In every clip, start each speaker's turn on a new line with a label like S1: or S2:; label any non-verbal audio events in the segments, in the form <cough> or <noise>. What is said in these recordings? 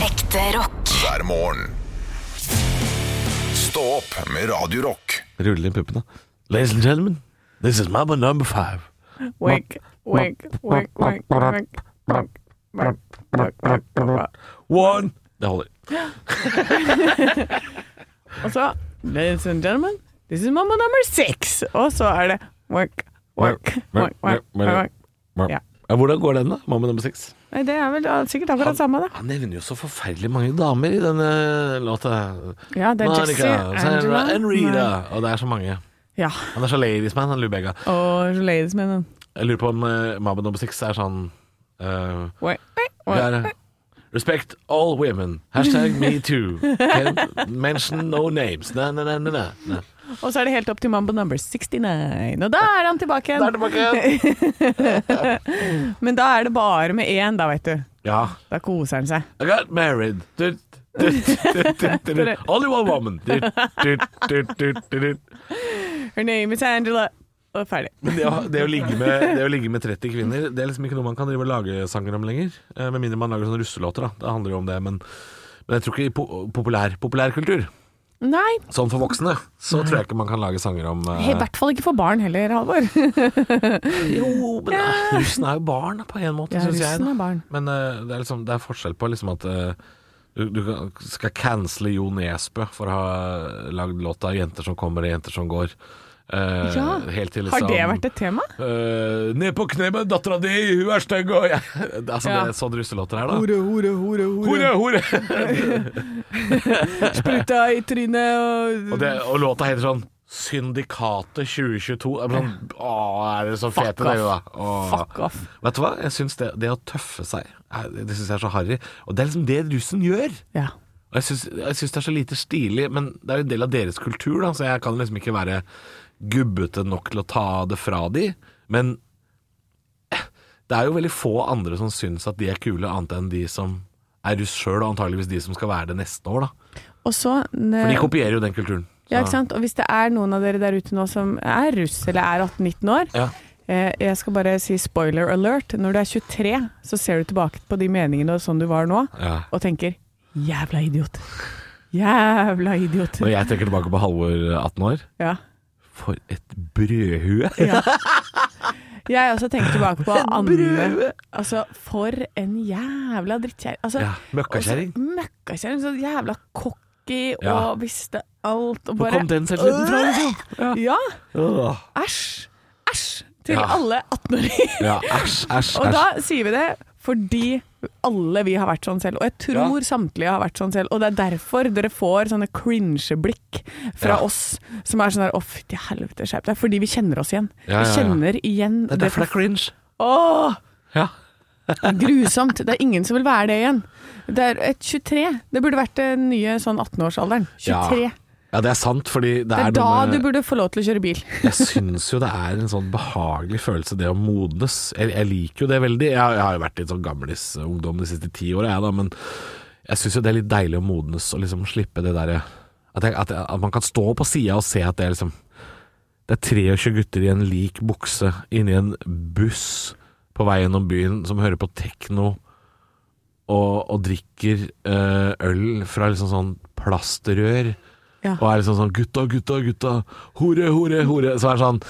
S1: Ekte rock.
S2: hver morgen. Stå opp med Radio Rock.
S3: Rulle inn puppene. Ladies and gentlemen, this is mama number five.
S4: Wink, wink, wink, wink, wink, wink, wink, wink, wink, wink.
S3: One! Det holder.
S4: Og så Ladies and gentlemen, this is mamma number six. Og så er det wink, wink, wink, wink, wink. Ja.
S3: Ja, Hvordan går den, da? Mamma nummer seks?
S4: Nei, det er vel da sikkert akkurat samme, da.
S3: Han nevner jo så forferdelig mange damer i denne låta.
S4: Ja, det er Jesse,
S3: Monica, Sandra
S4: Angela
S3: and Rita. Og det er så mange.
S4: Ja.
S3: Han er så ladiesman, han Lubega.
S4: Og ladies men
S3: Jeg lurer på om eh, mamma nummer seks er sånn eh,
S4: wink, wink,
S3: vi
S4: wink.
S3: er, eh, Respect all women. Hashtag me
S4: <laughs>
S3: too. Can't mention no names. Nei, nei, nei, nei, nei. nei.
S4: Og så er det helt opp til mambo number 69. Og da er han tilbake
S3: Da er
S4: igjen.
S3: det tilbake.
S4: <laughs> Men da er det bare med én, da, veit du.
S3: Ja.
S4: Da koser han seg.
S3: I got married. Du, du, du, du, du, du. Only one woman. Du, du, du, du, du, du.
S4: Her name is Angela. Og ferdig.
S3: Men det å, det, å ligge med, det å ligge med 30 kvinner, det er liksom ikke noe man kan drive og lage sanger om lenger. Eh, Med mindre man lager sånne russelåter, da. Det handler jo om det. Men, men jeg tror ikke i po populær populærkultur,
S4: Nei,
S3: sånn for voksne, så tror jeg ikke man kan lage sanger om eh,
S4: i hvert fall ikke for barn heller, Halvor.
S3: Jo, men eh, russen er jo barn, da, på en måte,
S4: Ja,
S3: syns jeg.
S4: russen
S3: Da.
S4: er barn.
S3: Men eh, det, er liksom, det er forskjell på liksom at eh, du, du kan- skal cancele Jo Nesbø for å ha eh, lagd låta 'Jenter som kommer og jenter som går'. Eh,
S4: Ja.
S3: helt til,
S4: Har det
S3: liksom-
S4: vært et tema?
S3: Eh, ned på kne med dattera di, hun er stygg og jeg <laughs> altså,
S4: Ja.
S3: Det er sånn russelåter er, da.
S4: Hore, hore, hore,
S3: Hore, hore!
S4: Spruta i trynet og,
S3: og, det, og låta heter sånn Syndikatet 2022. Det er bare sånn, å, er dere så fete, dere, da? Åh.
S4: Fuck off.
S3: Vet du hva? Jeg synes det, det å tøffe seg, er- det syns jeg er så harry. Og det er liksom det russen gjør.
S4: Ja.
S3: Og jeg syns, jeg syns det er så lite stilig, men det er jo en del av deres kultur, da, så jeg kan liksom ikke være gubbete nok til å ta det fra de. Men eh, det er jo veldig få andre som syns at de er kule, annet enn de som er russ sjøl, og antageligvis de som skal være det neste år, da.
S4: Og så
S3: For de kopierer jo den kulturen. Så-
S4: Eh, ja, ikke sant? Og hvis det er noen av dere der ute nå som er russ eller er 18-19 år
S3: Ja.
S4: eh, Jeg skal bare si spoiler alert. Når du er 23, så ser du tilbake på de meningene og sånn du var nå,
S3: Ja.
S4: og tenker 'jævla idiot'. Jævla idiot.
S3: Når jeg tenker tilbake på Halvor 18 år,
S4: Ja.
S3: for et brødhue!
S4: ja. Jeg også tenker tilbake på Anne. Altså, for en jævla drittkjerring. Altså,
S3: Ja, Møkkakjerring.
S4: Og så Møkkakjerring. Så jævla cocky
S3: Ja.
S4: og visste alt. Og
S3: Hvor
S4: bare
S3: kom den selvtilliten fra, liksom? Ja.
S4: Ja,
S3: Åh.
S4: æsj. Æsj til
S3: Ja.
S4: alle 18-åringer.
S3: ja, æsj, <laughs> æsj,
S4: Og
S3: æsj.
S4: da sier vi det fordi alle vi har vært sånn selv, og jeg tror samtlige har vært sånn selv. Og det er derfor dere får sånne cringe-blikk fra
S3: Ja.
S4: oss som er sånn der Å, fytti helvete, skjerp deg. Fordi vi kjenner oss igjen.
S3: Ja, ja,
S4: Vi
S3: ja.
S4: kjenner igjen
S3: Det er derfor det er cringe.
S4: Åh!
S3: Ja.
S4: <laughs> Grusomt. Det er ingen som vil være det igjen. Det er et 23. Det burde vært den nye sånn 18-årsalderen. 23.
S3: Ja. Ja, det er sant, fordi det,
S4: Det er da
S3: noe med-
S4: du burde få lov til å kjøre bil. <laughs>
S3: Jeg syns jo det er en sånn behagelig følelse, det å modnes. Jeg, jeg liker jo det veldig. Jeg, har- jeg har jo vært litt sånn gamlis-ungdom de siste ti åra, jeg da, men jeg syns jo det er litt deilig å modnes og liksom slippe det derre at, jeg- at, jeg- at man kan stå på sida og se at det er liksom Det er 23 gutter i en lik bukse inni en buss på vei gjennom byen som hører på tekno og, og drikker eh, øl fra liksom sånn plastrør.
S4: Ja.
S3: Og er liksom sånn 'gutta, gutta, gutta', 'hore, hore, hore'. Så er det sånn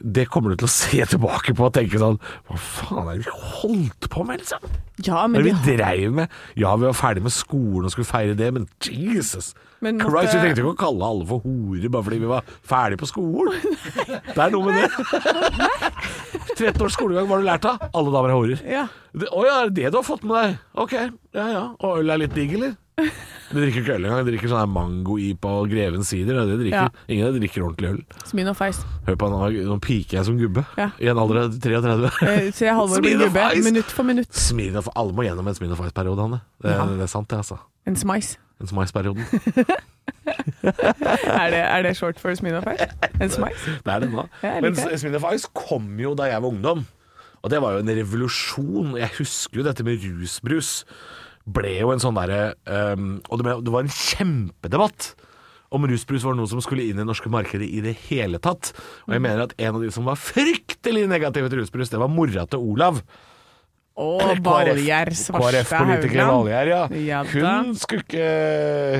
S3: Det kommer du til å se tilbake på og tenke sånn Hva faen er det vi holdt på med, liksom?
S4: Ja,
S3: Hva er
S4: men,
S3: det
S4: de,
S3: vi dreiv med? Ja, vi var ferdig med skolen og skulle feire det, men Jesus
S4: Men måtte-
S3: Christ, vi trengte ikke å kalle alle for horer bare fordi vi var ferdig på skolen. Det er noe med det. 13 års skolegang, hva har du lært av? Alle damer er horer.
S4: ja.
S3: Det- Å ja, er det det du har fått med deg? Ok, ja ja. Og øl er litt digg, eller? Du drikker ikke øl engang. Du drikker sånn her mango-ipa og Greven sider. Det er det de drikker.
S4: Ja.
S3: Ingen av de drikker ordentlig øl.
S4: Smirnoff Ice.
S3: Hør på han, nå piker jeg som gubbe.
S4: Ja.
S3: I en alder av <laughs> 33.
S4: Eh, Se Halvor bli
S3: Smirnoff
S4: gubbe
S3: Ice.
S4: minutt for minutt.
S3: Smirnoff Alle må gjennom en Smirnoff Ice-periode, Hanne. Det,
S4: Ja.
S3: det er sant, det, altså.
S4: En smice.
S3: Den Smice-perioden.
S4: <laughs> Er det, er det short for Smirnoff Ice? En smice?
S3: Det er det nå.
S4: Ja, jeg
S3: Men
S4: liker det.
S3: Smirnoff Ice kom jo da jeg var ungdom. Og det var jo en revolusjon. Jeg husker jo dette med rusbrus. Ble jo en sånn derre ehm, Og det, ble, det var en kjempedebatt om rusbrus var noe som skulle inn i det norske markedet i det hele tatt.
S4: Mm.
S3: Og jeg mener at en av de som var fryktelig negative til rusbrus, det var mora til Olav.
S4: Og Valgjerd Svarstad
S3: KrF-politiker
S4: Haugland.
S3: Valgjerd, ja.
S4: Ja da.
S3: Hun skulle ikke,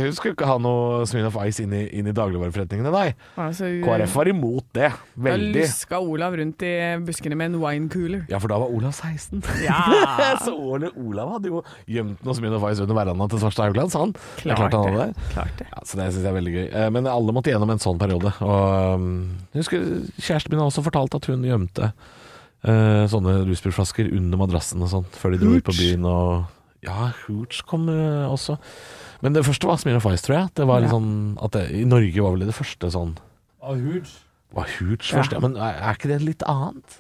S3: hun skulle ikke ha noe Smin of Ice inn i, inn i dagligvareforretningene, nei.
S4: Altså,
S3: KrF var imot det.
S4: Da
S3: Veldig.
S4: luska Olav rundt i buskene med en winecooler.
S3: <laughs> Ja, for da var Olav <laughs> 16.
S4: Ja.
S3: så Ole Olav hadde jo gjemt noe Smin of Ice under verandaen til Svarstad Haugland, sa han. Det er klart han hadde det.
S4: Klart det.
S3: Ja, så det syns jeg er veldig gøy. Eh, Men alle måtte gjennom en sånn periode. Og um, jeg husker Kjæresten min har også fortalt at hun gjemte eh, sånne rusbrusflasker under madrassen og sånt før de dro ut på
S4: Hooch.
S3: byen. Og ja, Hooch kom eh, også. Men det første var Smirnoff Ice, tror jeg. Det var litt
S4: Ja.
S3: sånn at det, I Norge var vel det det første sånn
S1: Av Hooch.
S3: Var Hooch
S4: Ja.
S3: først? Ja, men er er ikke det litt annet?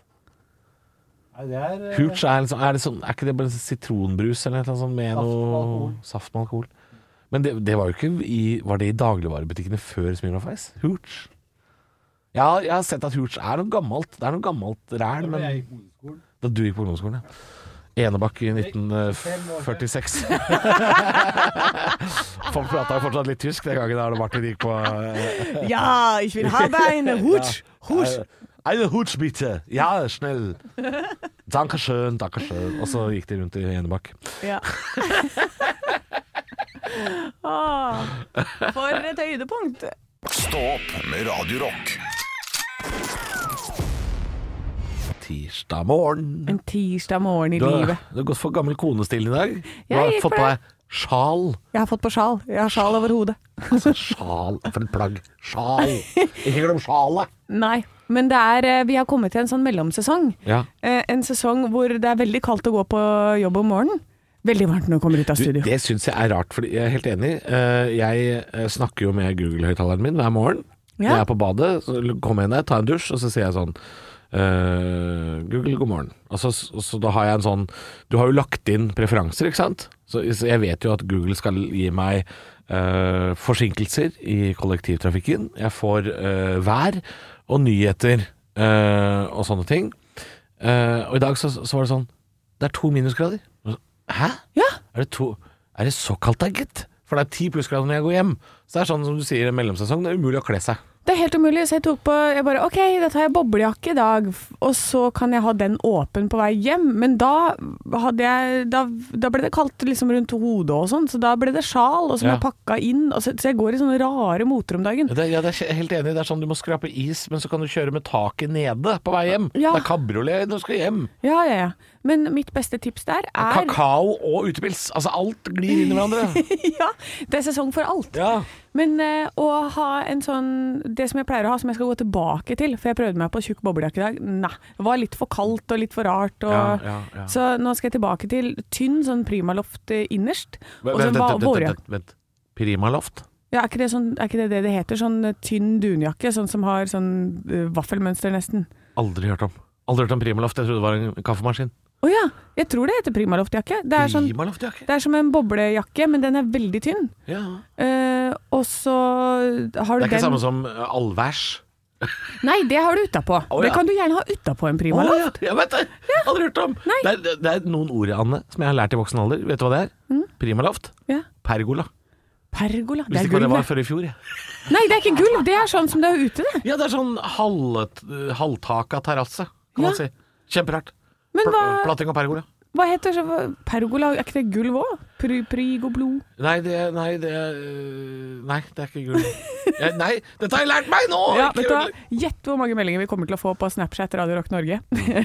S1: Nei, det er eh,
S3: Hooch er, liksom, er, det sånn, er ikke det bare sitronbrus eller noe sånt med
S1: Saft med
S3: noe
S1: alkohol.
S3: saft med alkohol? Men det, det var jo ikke i Var det i dagligvarebutikkene før Smirnoff Ice? Hooch? Ja, jeg har sett at Hooch er noe gammelt. Det er noe gammelt
S1: da
S3: ræl,
S1: ble
S3: men
S1: jeg i ungdomsskolen.
S3: da du gikk på ungdomsskolen, ja. Enebakk i 1946. <laughs> Folk prata jo fortsatt litt tysk den gangen da Martin gikk på eh,
S4: Ja, ich <laughs> will habe eine Hutsch! Hutsch!
S3: Eine Hooch, bitte! Ja, schnell! Dankeschön, dankeschön. Og så gikk de rundt i Enebakk.
S4: <laughs> Ja. Åh, Ah, for et høydepunkt.
S2: Stå opp med Radio Rock.
S3: tirsdag morgen.
S4: En tirsdag morgen i
S3: Du har,
S4: livet.
S3: du har gått for gammel konestil i dag. Du
S4: Jeg
S3: har fått
S4: gikk for
S3: på
S4: det.
S3: deg sjal.
S4: Jeg har fått på sjal. Jeg har sjal over hodet.
S3: Altså, sjal for et plagg. Sjal.
S4: <laughs>
S3: Ikke glem sjalet.
S4: Nei, men det er, eh, vi har kommet til en sånn mellomsesong.
S3: Ja.
S4: Eh, En sesong hvor det er veldig kaldt å gå på jobb om morgenen. Veldig varmt når du kommer ut av
S3: Du,
S4: studio.
S3: det syns jeg er rart, for jeg er helt enig. Eh, Jeg eh, snakker jo med Google-høyttaleren min hver morgen.
S4: Ja.
S3: Jeg er på badet, så kommer jeg inn der, tar en dusj, og så sier jeg sånn eh, Google, god morgen. Og så, så, så da har jeg en sånn Du har jo lagt inn preferanser, ikke sant? Så, så jeg vet jo at Google skal gi meg eh, forsinkelser i kollektivtrafikken. Jeg får eh, vær og nyheter eh, og sånne ting. Eh, og i dag så, så var det sånn Det er to minusgrader. Og så, Hæ?
S4: Ja.
S3: Er det, to, er det så kaldt da, gitt? For det er ti plussgrader når jeg går hjem. Så det er sånn som du sier, en mellomsesong. Det er umulig å kle seg.
S4: Det er helt umulig, så jeg tok på Jeg bare OK, da tar jeg boblejakke i dag, f- og så kan jeg ha den åpen på vei hjem. Men da hadde jeg Da, da ble det kaldt liksom rundt hodet og sånn, så da ble det sjal, og så må
S3: Ja.
S4: jeg pakka inn. Og så, så jeg går i sånne rare moter om dagen.
S3: Ja, det, ja, det er helt enig. Det er sånn du må skrape is, men så kan du kjøre med taket nede på vei hjem.
S4: Ja.
S3: Det er kabriolet når du skal hjem.
S4: Ja, ja, ja. Men mitt beste tips der er
S3: Kakao og utepils. Altså alt glir inn i hverandre.
S4: <laughs>
S3: <laughs>
S4: Ja, det er sesong for alt.
S3: ja.
S4: Men eh, å ha en sånn Det som jeg pleier å ha, som jeg skal gå tilbake til, for jeg prøvde meg på tjukk boblejakke i dag. Nei. Det var litt for kaldt og litt for rart. Og,
S3: Ja, ja, ja.
S4: Så nå skal jeg tilbake til tynn sånn primaloft eh, innerst. Og så
S3: Vent,
S4: va-
S3: vent, vent,
S4: vårjakke.
S3: vent, vent. Primaloft?
S4: Ja, er ikke, det sånn, er ikke det det det heter? Sånn eh, tynn dunjakke, sånn som har sånn eh, vaffelmønster nesten.
S3: Aldri hørt om. Aldri hørt om primaloft. Jeg trodde det var en kaffemaskin.
S4: Å ja, jeg tror det heter primaloftjakke. Det er, sånn,
S3: Primaloftjakke?
S4: det er som en boblejakke, men den er veldig tynn.
S3: Ja.
S4: Eh, og så har
S3: Det
S4: du
S3: er ikke
S4: den
S3: samme som eh, allværs.
S4: Nei, det har du utapå.
S3: Å,
S4: Det
S3: ja.
S4: kan du gjerne ha utapå en primaloft.
S3: Å, ja, jeg vet det! Aldri hørt om. Det er, det er noen ord, Anne, som jeg har lært i voksen alder. Vet du hva det er? Primaloft.
S4: Ja.
S3: Pergola.
S4: Pergola. Det
S3: Hvis
S4: er
S3: ikke det
S4: gulv.
S3: var
S4: det.
S3: før i fjor. Ja,
S4: Nei, det er ikke gulv. Det er sånn som det er ute, det.
S3: ja det er sånn halvt, halvtaka terrasse, kan
S4: Ja.
S3: man si. Kjemperart.
S4: Men
S3: Pl
S4: hva-
S3: Platting og pergola.
S4: Hva heter så Pergola, er ikke det gulv òg? Pryg og blod.
S3: Nei, det Nei, det øh, Nei, det er ikke
S4: <laughs>
S3: gull. Jeg- Nei, dette har jeg lært meg nå!
S4: Ja,
S3: Ikke
S4: vet du hva?
S3: ødelegg.
S4: Gjett hvor mange meldinger vi kommer til å få på Snapchat Radio Rock Norge <laughs>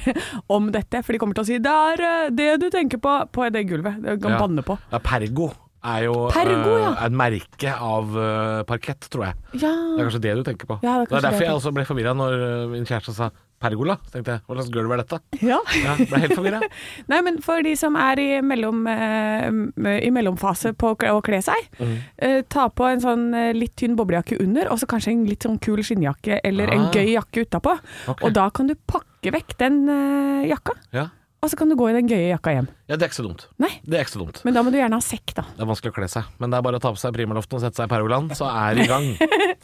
S4: om dette. For de kommer til å si 'det er eh, det du tenker på på det gulvet'. Du kan
S3: Ja.
S4: banne på.
S3: ja, Pergo er jo
S4: Pergo,
S3: øh,
S4: ja.
S3: er et merke av øh, parkett, tror jeg.
S4: Ja.
S3: Det er kanskje det du tenker på.
S4: Mm. Ja, det er kanskje det jeg
S3: derfor jeg
S4: tenker.
S3: også ble forvirra når øh, min kjæreste sa pergola. Så tenkte jeg hva slags gulv er dette?
S4: ja.
S3: Ja, ble helt
S4: <laughs>
S3: forvirra.
S4: Nei, men for de som er i, mellom, eh, i mellomfase på å kle- å kle seg,
S3: Mhm.
S4: eh, ta på en sånn eh, litt tynn boblejakke under, og så kanskje en litt sånn kul skinnjakke eller en
S3: Ah.
S4: gøy jakke utapå.
S3: Ok.
S4: Og da kan du pakke vekk den eh, jakka,
S3: Ja.
S4: og så kan du gå i den gøye jakka hjem.
S3: ja, det er ikke så dumt.
S4: Nei,
S3: Det er ikke så dumt.
S4: men da må du gjerne ha sekk, da.
S3: Det er vanskelig å kle seg, men det er bare å ta på seg primaloften og sette seg i pergolaen, så er det i gang.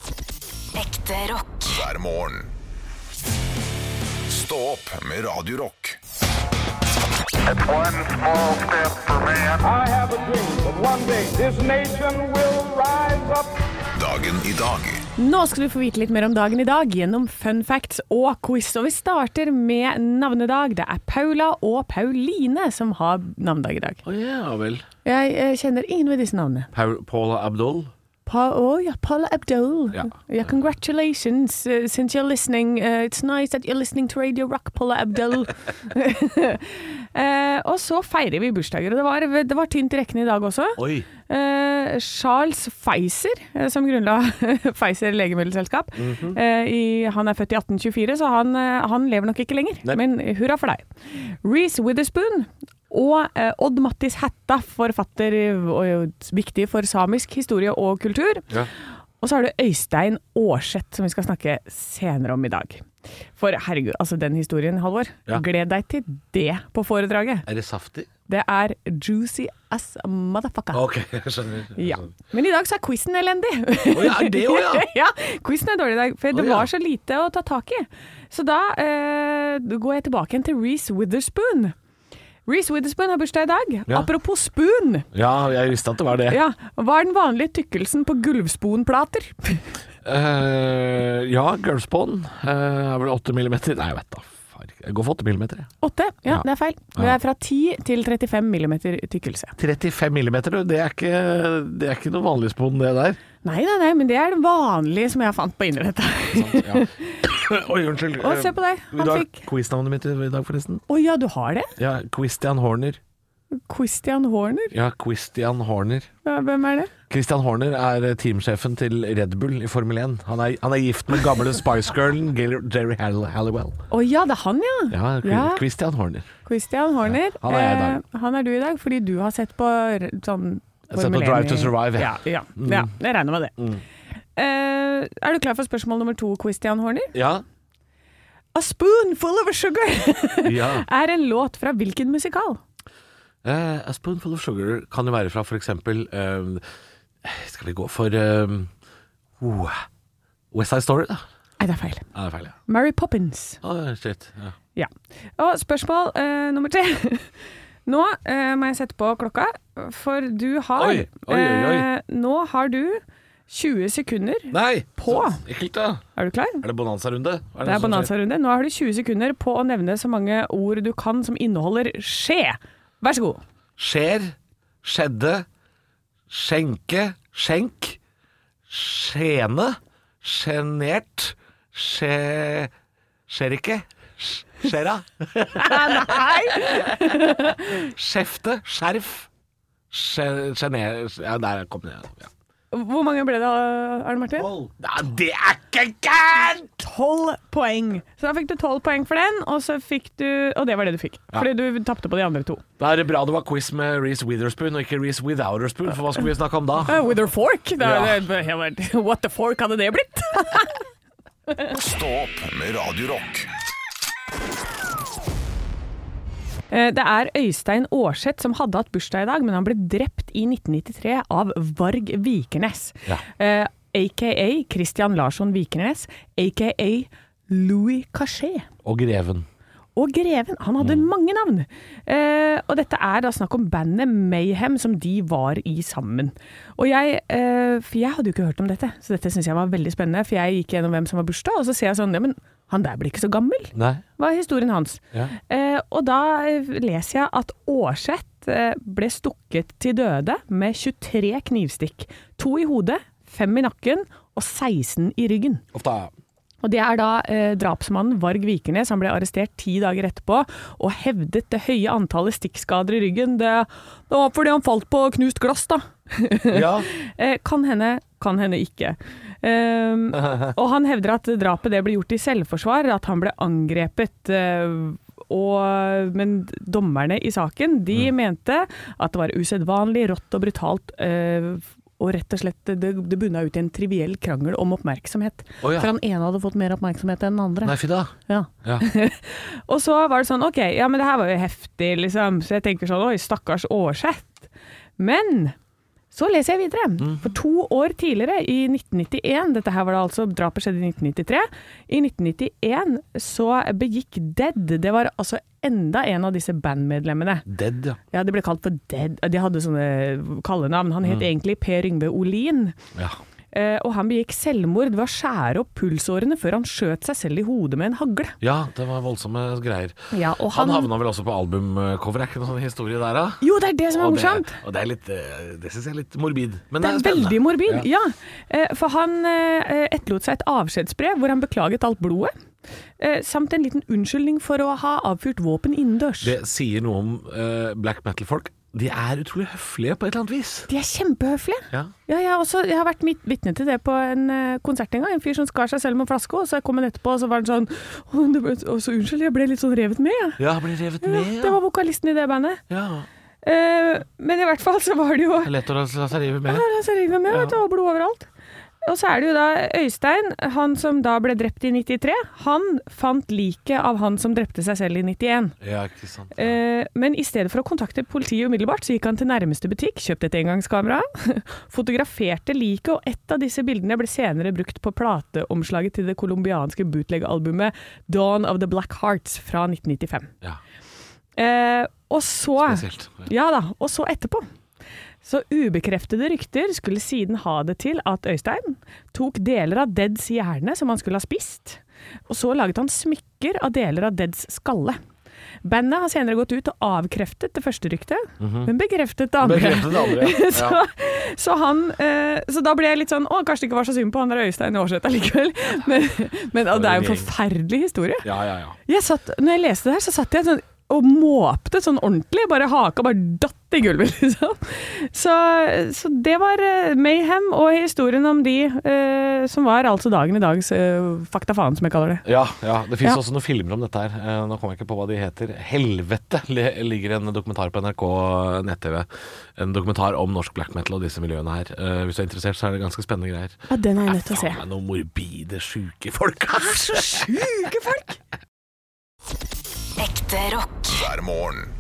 S4: <laughs>
S5: Ekte rock.
S2: hver morgen. Stå opp med Radio Rock.
S6: It's one small step for man.
S7: I have a dream that one day this nation will rise up
S2: Dagen i dag.
S4: Nå skal du få vite litt mer om dagen i dag gjennom fun facts og quiz. Og vi starter med navnedag. Det er Paula og Pauline som har navnedag i dag.
S3: Å ja vel.
S4: Jeg eh, kjenner ingen ved disse navnene.
S3: Pau- Paula Abdul.
S4: Pa oh, ja, Paula Abdul.
S3: Ja.
S4: congratulations. eh, since you're listening, eh, it's nice that you're listening to Radio Rock, Paula Abdul. <laughs> Eh, og så feirer vi bursdager. Og det var, det var tynt i rekkene i dag også.
S3: Oi.
S4: Eh, Charles Pfizer, eh, som grunnla <laughs> Pfizer legemiddelselskap.
S3: Mhm.
S4: eh, i, han er født i 1824, så han, eh, han lever nok ikke lenger.
S3: Nei.
S4: Men hurra for deg. Reece Witherspoon og eh, Odd Mattis Hætta, forfatter og eh, viktig for samisk historie og kultur.
S3: Ja.
S4: Og så er det Øystein Aarseth, som vi skal snakke senere om i dag. For herregud, altså den historien, Halvor.
S3: Ja.
S4: Gled deg til det på foredraget.
S3: Er det saftig?
S4: Det er juicy as a motherfucker.
S3: Ok, jeg skjønner.
S4: Ja. Men i dag så er quizen elendig.
S3: Å ja, er det òg,
S4: <laughs>
S3: ja?
S4: Quizen er dårlig i dag, for det
S3: Å ja.
S4: var så lite å ta tak i. Så da eh, går jeg tilbake igjen til Reece Witherspoon. Reece Witherspoon har bursdag i dag.
S3: Ja.
S4: Apropos spoon.
S3: Ja, jeg visste at det var det.
S4: Ja, hva er den vanlige tykkelsen på gulvsponplater? <laughs>
S3: Eh, ja, girlspawn er vel 8 millimeter. Nei, jeg vet da. Far, jeg går for 8 millimeter. jeg.
S4: Åtte? Ja,
S3: Ja.
S4: det er feil. Det er fra 10 til 35 millimeter tykkelse.
S3: 35 millimeter, du. Det er ikke, det er ikke noe vanlig spon, det der.
S4: Nei, nei, nei, men det er den vanlige som jeg fant på internettet.
S3: <laughs> Oi, unnskyld.
S4: Å, se på deg.
S3: Vil
S4: Han
S3: du ha
S4: fikk
S3: Eh, quiznavnet mitt i dag, forresten?
S4: Å ja, du har det?
S3: Ja, Christian Horner.
S4: Christian Horner?
S3: Ja, Christian Horner.
S4: Ja, Hvem er det?
S3: Christian Horner er eh, teamsjefen til Red Bull i Formel 1. Han er, han er gift med gamle Spice-girlen Gil- Jerry Hall Halliwell.
S4: Å ja, det er han, ja.
S3: Ja, Chri-
S4: Ja.
S3: Christian Horner.
S4: Christian Horner.
S3: Ja, han er jeg i dag.
S4: eh, han er du i dag fordi du har sett på r- sånn
S3: Jeg har sett
S4: Formel
S3: på Drive
S4: 1
S3: to
S4: i-
S3: Survive, Mm.
S4: Ja,
S3: jeg.
S4: ja, ja, jeg regner med det. Eh, er du klar for spørsmål nummer to, Christian Horner?
S3: Ja.
S4: A spoonful of sugar <laughs>
S3: ja.
S4: er en låt fra hvilken musikal?
S3: Eh, a Spoonful of Sugar kan jo være fra for eksempel ehm, Skal vi gå for ehm, oh, West Side Story, da?
S4: Nei, det er feil.
S3: Ja, det er feil, ja.
S4: Mary Poppins.
S3: Å, shit. Ja.
S4: Ja. Og spørsmål eh, nummer tre. <laughs> Nå eh, må jeg sette på klokka, for du har
S3: Oi, oi, oi, oi.
S4: eh, Nå har du 20 sekunder.
S3: Nei!
S4: På.
S3: så Ekkelt, da.
S4: Er du klar?
S3: Er det bonanza-runde? Hva
S4: Det er
S3: som skjer?
S4: bonanza-runde. Nå har du 20 sekunder på å nevne så mange ord du kan som inneholder skje. Vær så god.
S3: Skjer, skjedde, skjenke, skjenk, skjene, sjenert, skje... Skjer ikke. Sj- Skjera.
S4: Nei!
S3: Skjefte. Skjerf. Sje- Sjener... Ja, der kom det. Ja.
S4: Hvor mange ble det, eh, Arne Martin?
S3: Nei, det er ikke gærent!
S4: Tolv poeng. Så da fikk du tolv poeng for den, og, så fikk du, og det var det du fikk. Fordi du tapte på de andre to.
S3: Da er det bra det var quiz med Reece Witherspoon, og ikke Reece Without Witherspoon, for hva skulle vi snakke om da?
S4: Eh, with her fork. eh,
S3: Ja.
S4: <laughs> what the fork hadde det blitt? <laughs>
S2: Stå opp med Radio Rock.
S4: Eh, Det er Øystein Aarseth som hadde hatt bursdag i dag, men han ble drept i 1993 av Varg Vikernes.
S3: Ja.
S4: Eh, AKA Christian Larsson Vikernes, AKA Louis Cachet.
S3: Og Greven.
S4: Og Greven. Han hadde mange navn. Eh, og dette er da snakk om bandet Mayhem som de var i sammen. Og jeg, eh, for jeg hadde jo ikke hørt om dette, så dette syns jeg var veldig spennende. For jeg gikk gjennom hvem som var bursdag, og så ser jeg sånn ja, men han der blir ikke så gammel
S3: Nei.
S4: var historien hans.
S3: Ja.
S4: Eh, og da eh, leser jeg at Aarseth eh, ble stukket til døde med 23 knivstikk. To i hodet, fem i nakken og 16 i ryggen.
S3: Ofte.
S4: Og Det er da eh, drapsmannen Varg Vikernes. Han ble arrestert ti dager etterpå og hevdet det høye antallet stikkskader i ryggen. Det, det var fordi han falt på knust glass, da.
S3: Ja. <laughs>
S4: Eh, kan hende, kan hende ikke. Ehm, og han hevder at drapet det ble gjort i selvforsvar, at han ble angrepet. eh, og, men dommerne i saken de mente at det var usedvanlig rått og brutalt. eh, og rett og slett det, det bunna ut i en triviell krangel om oppmerksomhet.
S3: Å ja.
S4: For han ene hadde fått mer oppmerksomhet enn den andre.
S3: Nei, fy da.
S4: Ja.
S3: Ja.
S4: <laughs> Og så var det sånn, ok, ja, men det her var jo heftig, liksom. Så jeg tenker sånn, oi, stakkars Aarseth. Men så leser jeg videre.
S3: Mhm.
S4: For to år tidligere, i 1991, dette her var det altså, drapet skjedde i 1993. I 1991 så begikk Dead, det var altså enda en av disse bandmedlemmene.
S3: Dead, ja.
S4: Ja, de ble
S3: Mhm.
S4: kalt for Dead. De hadde sånne kallenavn. Han het egentlig Per Yngve Olin.
S3: Ja.
S4: Eh, eh, og han begikk selvmord ved å skjære opp pulsårene før han skjøt seg selv i hodet med en hagle.
S3: Ja, det var voldsomme greier.
S4: Ja, og
S3: Han,
S4: han-
S3: havna vel også på albumcover, er ikke noen sånn historie der, da?
S4: Jo, det er det som er
S3: Og det,
S4: morsomt!
S3: og det, er litt, eh, det syns jeg er litt morbid. Men det
S4: Det er
S3: er spennende.
S4: veldig morbid, ja. Eh, For han eh, etterlot seg et avskjedsbrev hvor han beklaget alt blodet, eh, samt en liten unnskyldning for å ha avfyrt våpen innendørs.
S3: Det sier noe om eh, black metal-folk. De er utrolig høflige på et eller annet vis.
S4: De er kjempehøflige.
S3: Ja.
S4: Ja, jeg, har også, jeg har vært mitt vitne til det på en eh, konsert en gang. En fyr som skar seg selv med en flaske, og så kom han etterpå, og så var han sånn «Å, det ble, å, så Unnskyld, jeg ble litt sånn revet med, jeg.
S3: Ja, blir revet
S4: Ja,
S3: med.
S4: det
S3: Ja.
S4: var vokalisten i det bandet.
S3: ja.
S4: Eh, men i hvert fall så var det jo
S3: Det er lett å la seg rive med.
S4: Ja, så river vi med,
S3: Ja.
S4: vet du, og blod overalt. Og så er det jo da Øystein, han som da ble drept i 93, han fant liket av han som drepte seg selv i 91.
S3: Ja, ikke sant.
S4: Eh, men i stedet for å kontakte politiet umiddelbart, så gikk han til nærmeste butikk, kjøpte et engangskamera, <laughs> fotograferte liket, og ett av disse bildene ble senere brukt på plateomslaget til det colombianske bootleg-albumet Dawn of the Black Hearts fra 1995.
S3: Ja,
S4: Eh, og så
S3: spesielt.
S4: ja da, og så etterpå. Så ubekreftede rykter skulle siden ha det til at Øystein tok deler av Deads hjerne som han skulle ha spist, og så laget han smykker av deler av Deads skalle. Bandet har senere gått ut og avkreftet det første ryktet, men bekreftet det andre.
S3: Mhm.
S4: <laughs>
S3: Bekreftet det andre. ja.
S4: så, så, han, eh, så da ble jeg litt sånn Å, kanskje det ikke var så synd på han der Øystein i Årset allikevel. <laughs> Men, men og det er jo en forferdelig historie.
S3: Ja, ja, ja.
S4: Jeg satt, når jeg leste det her, så satt jeg sånn og måpte sånn ordentlig. Bare haka bare datt i gulvet, <laughs> liksom. Så, så det var eh, Mayhem og historien om de eh, som var altså dagen i dags eh, fakta faen, som jeg kaller det.
S3: Ja, ja. Det fins
S4: Ja.
S3: også noen filmer om dette her. Eh, Nå kommer jeg ikke på hva de heter. 'Helvete' le- ligger en dokumentar på NRK nett-TV. En dokumentar om norsk black metal og disse miljøene her. Eh, Hvis du er interessert, så er det ganske spennende greier.
S4: Ja, den er jeg nødt til å se.
S3: faen meg noen morbide, sjuke folk, ass!
S4: Sjuke folk!
S5: Ekte rock.
S2: hver morgen.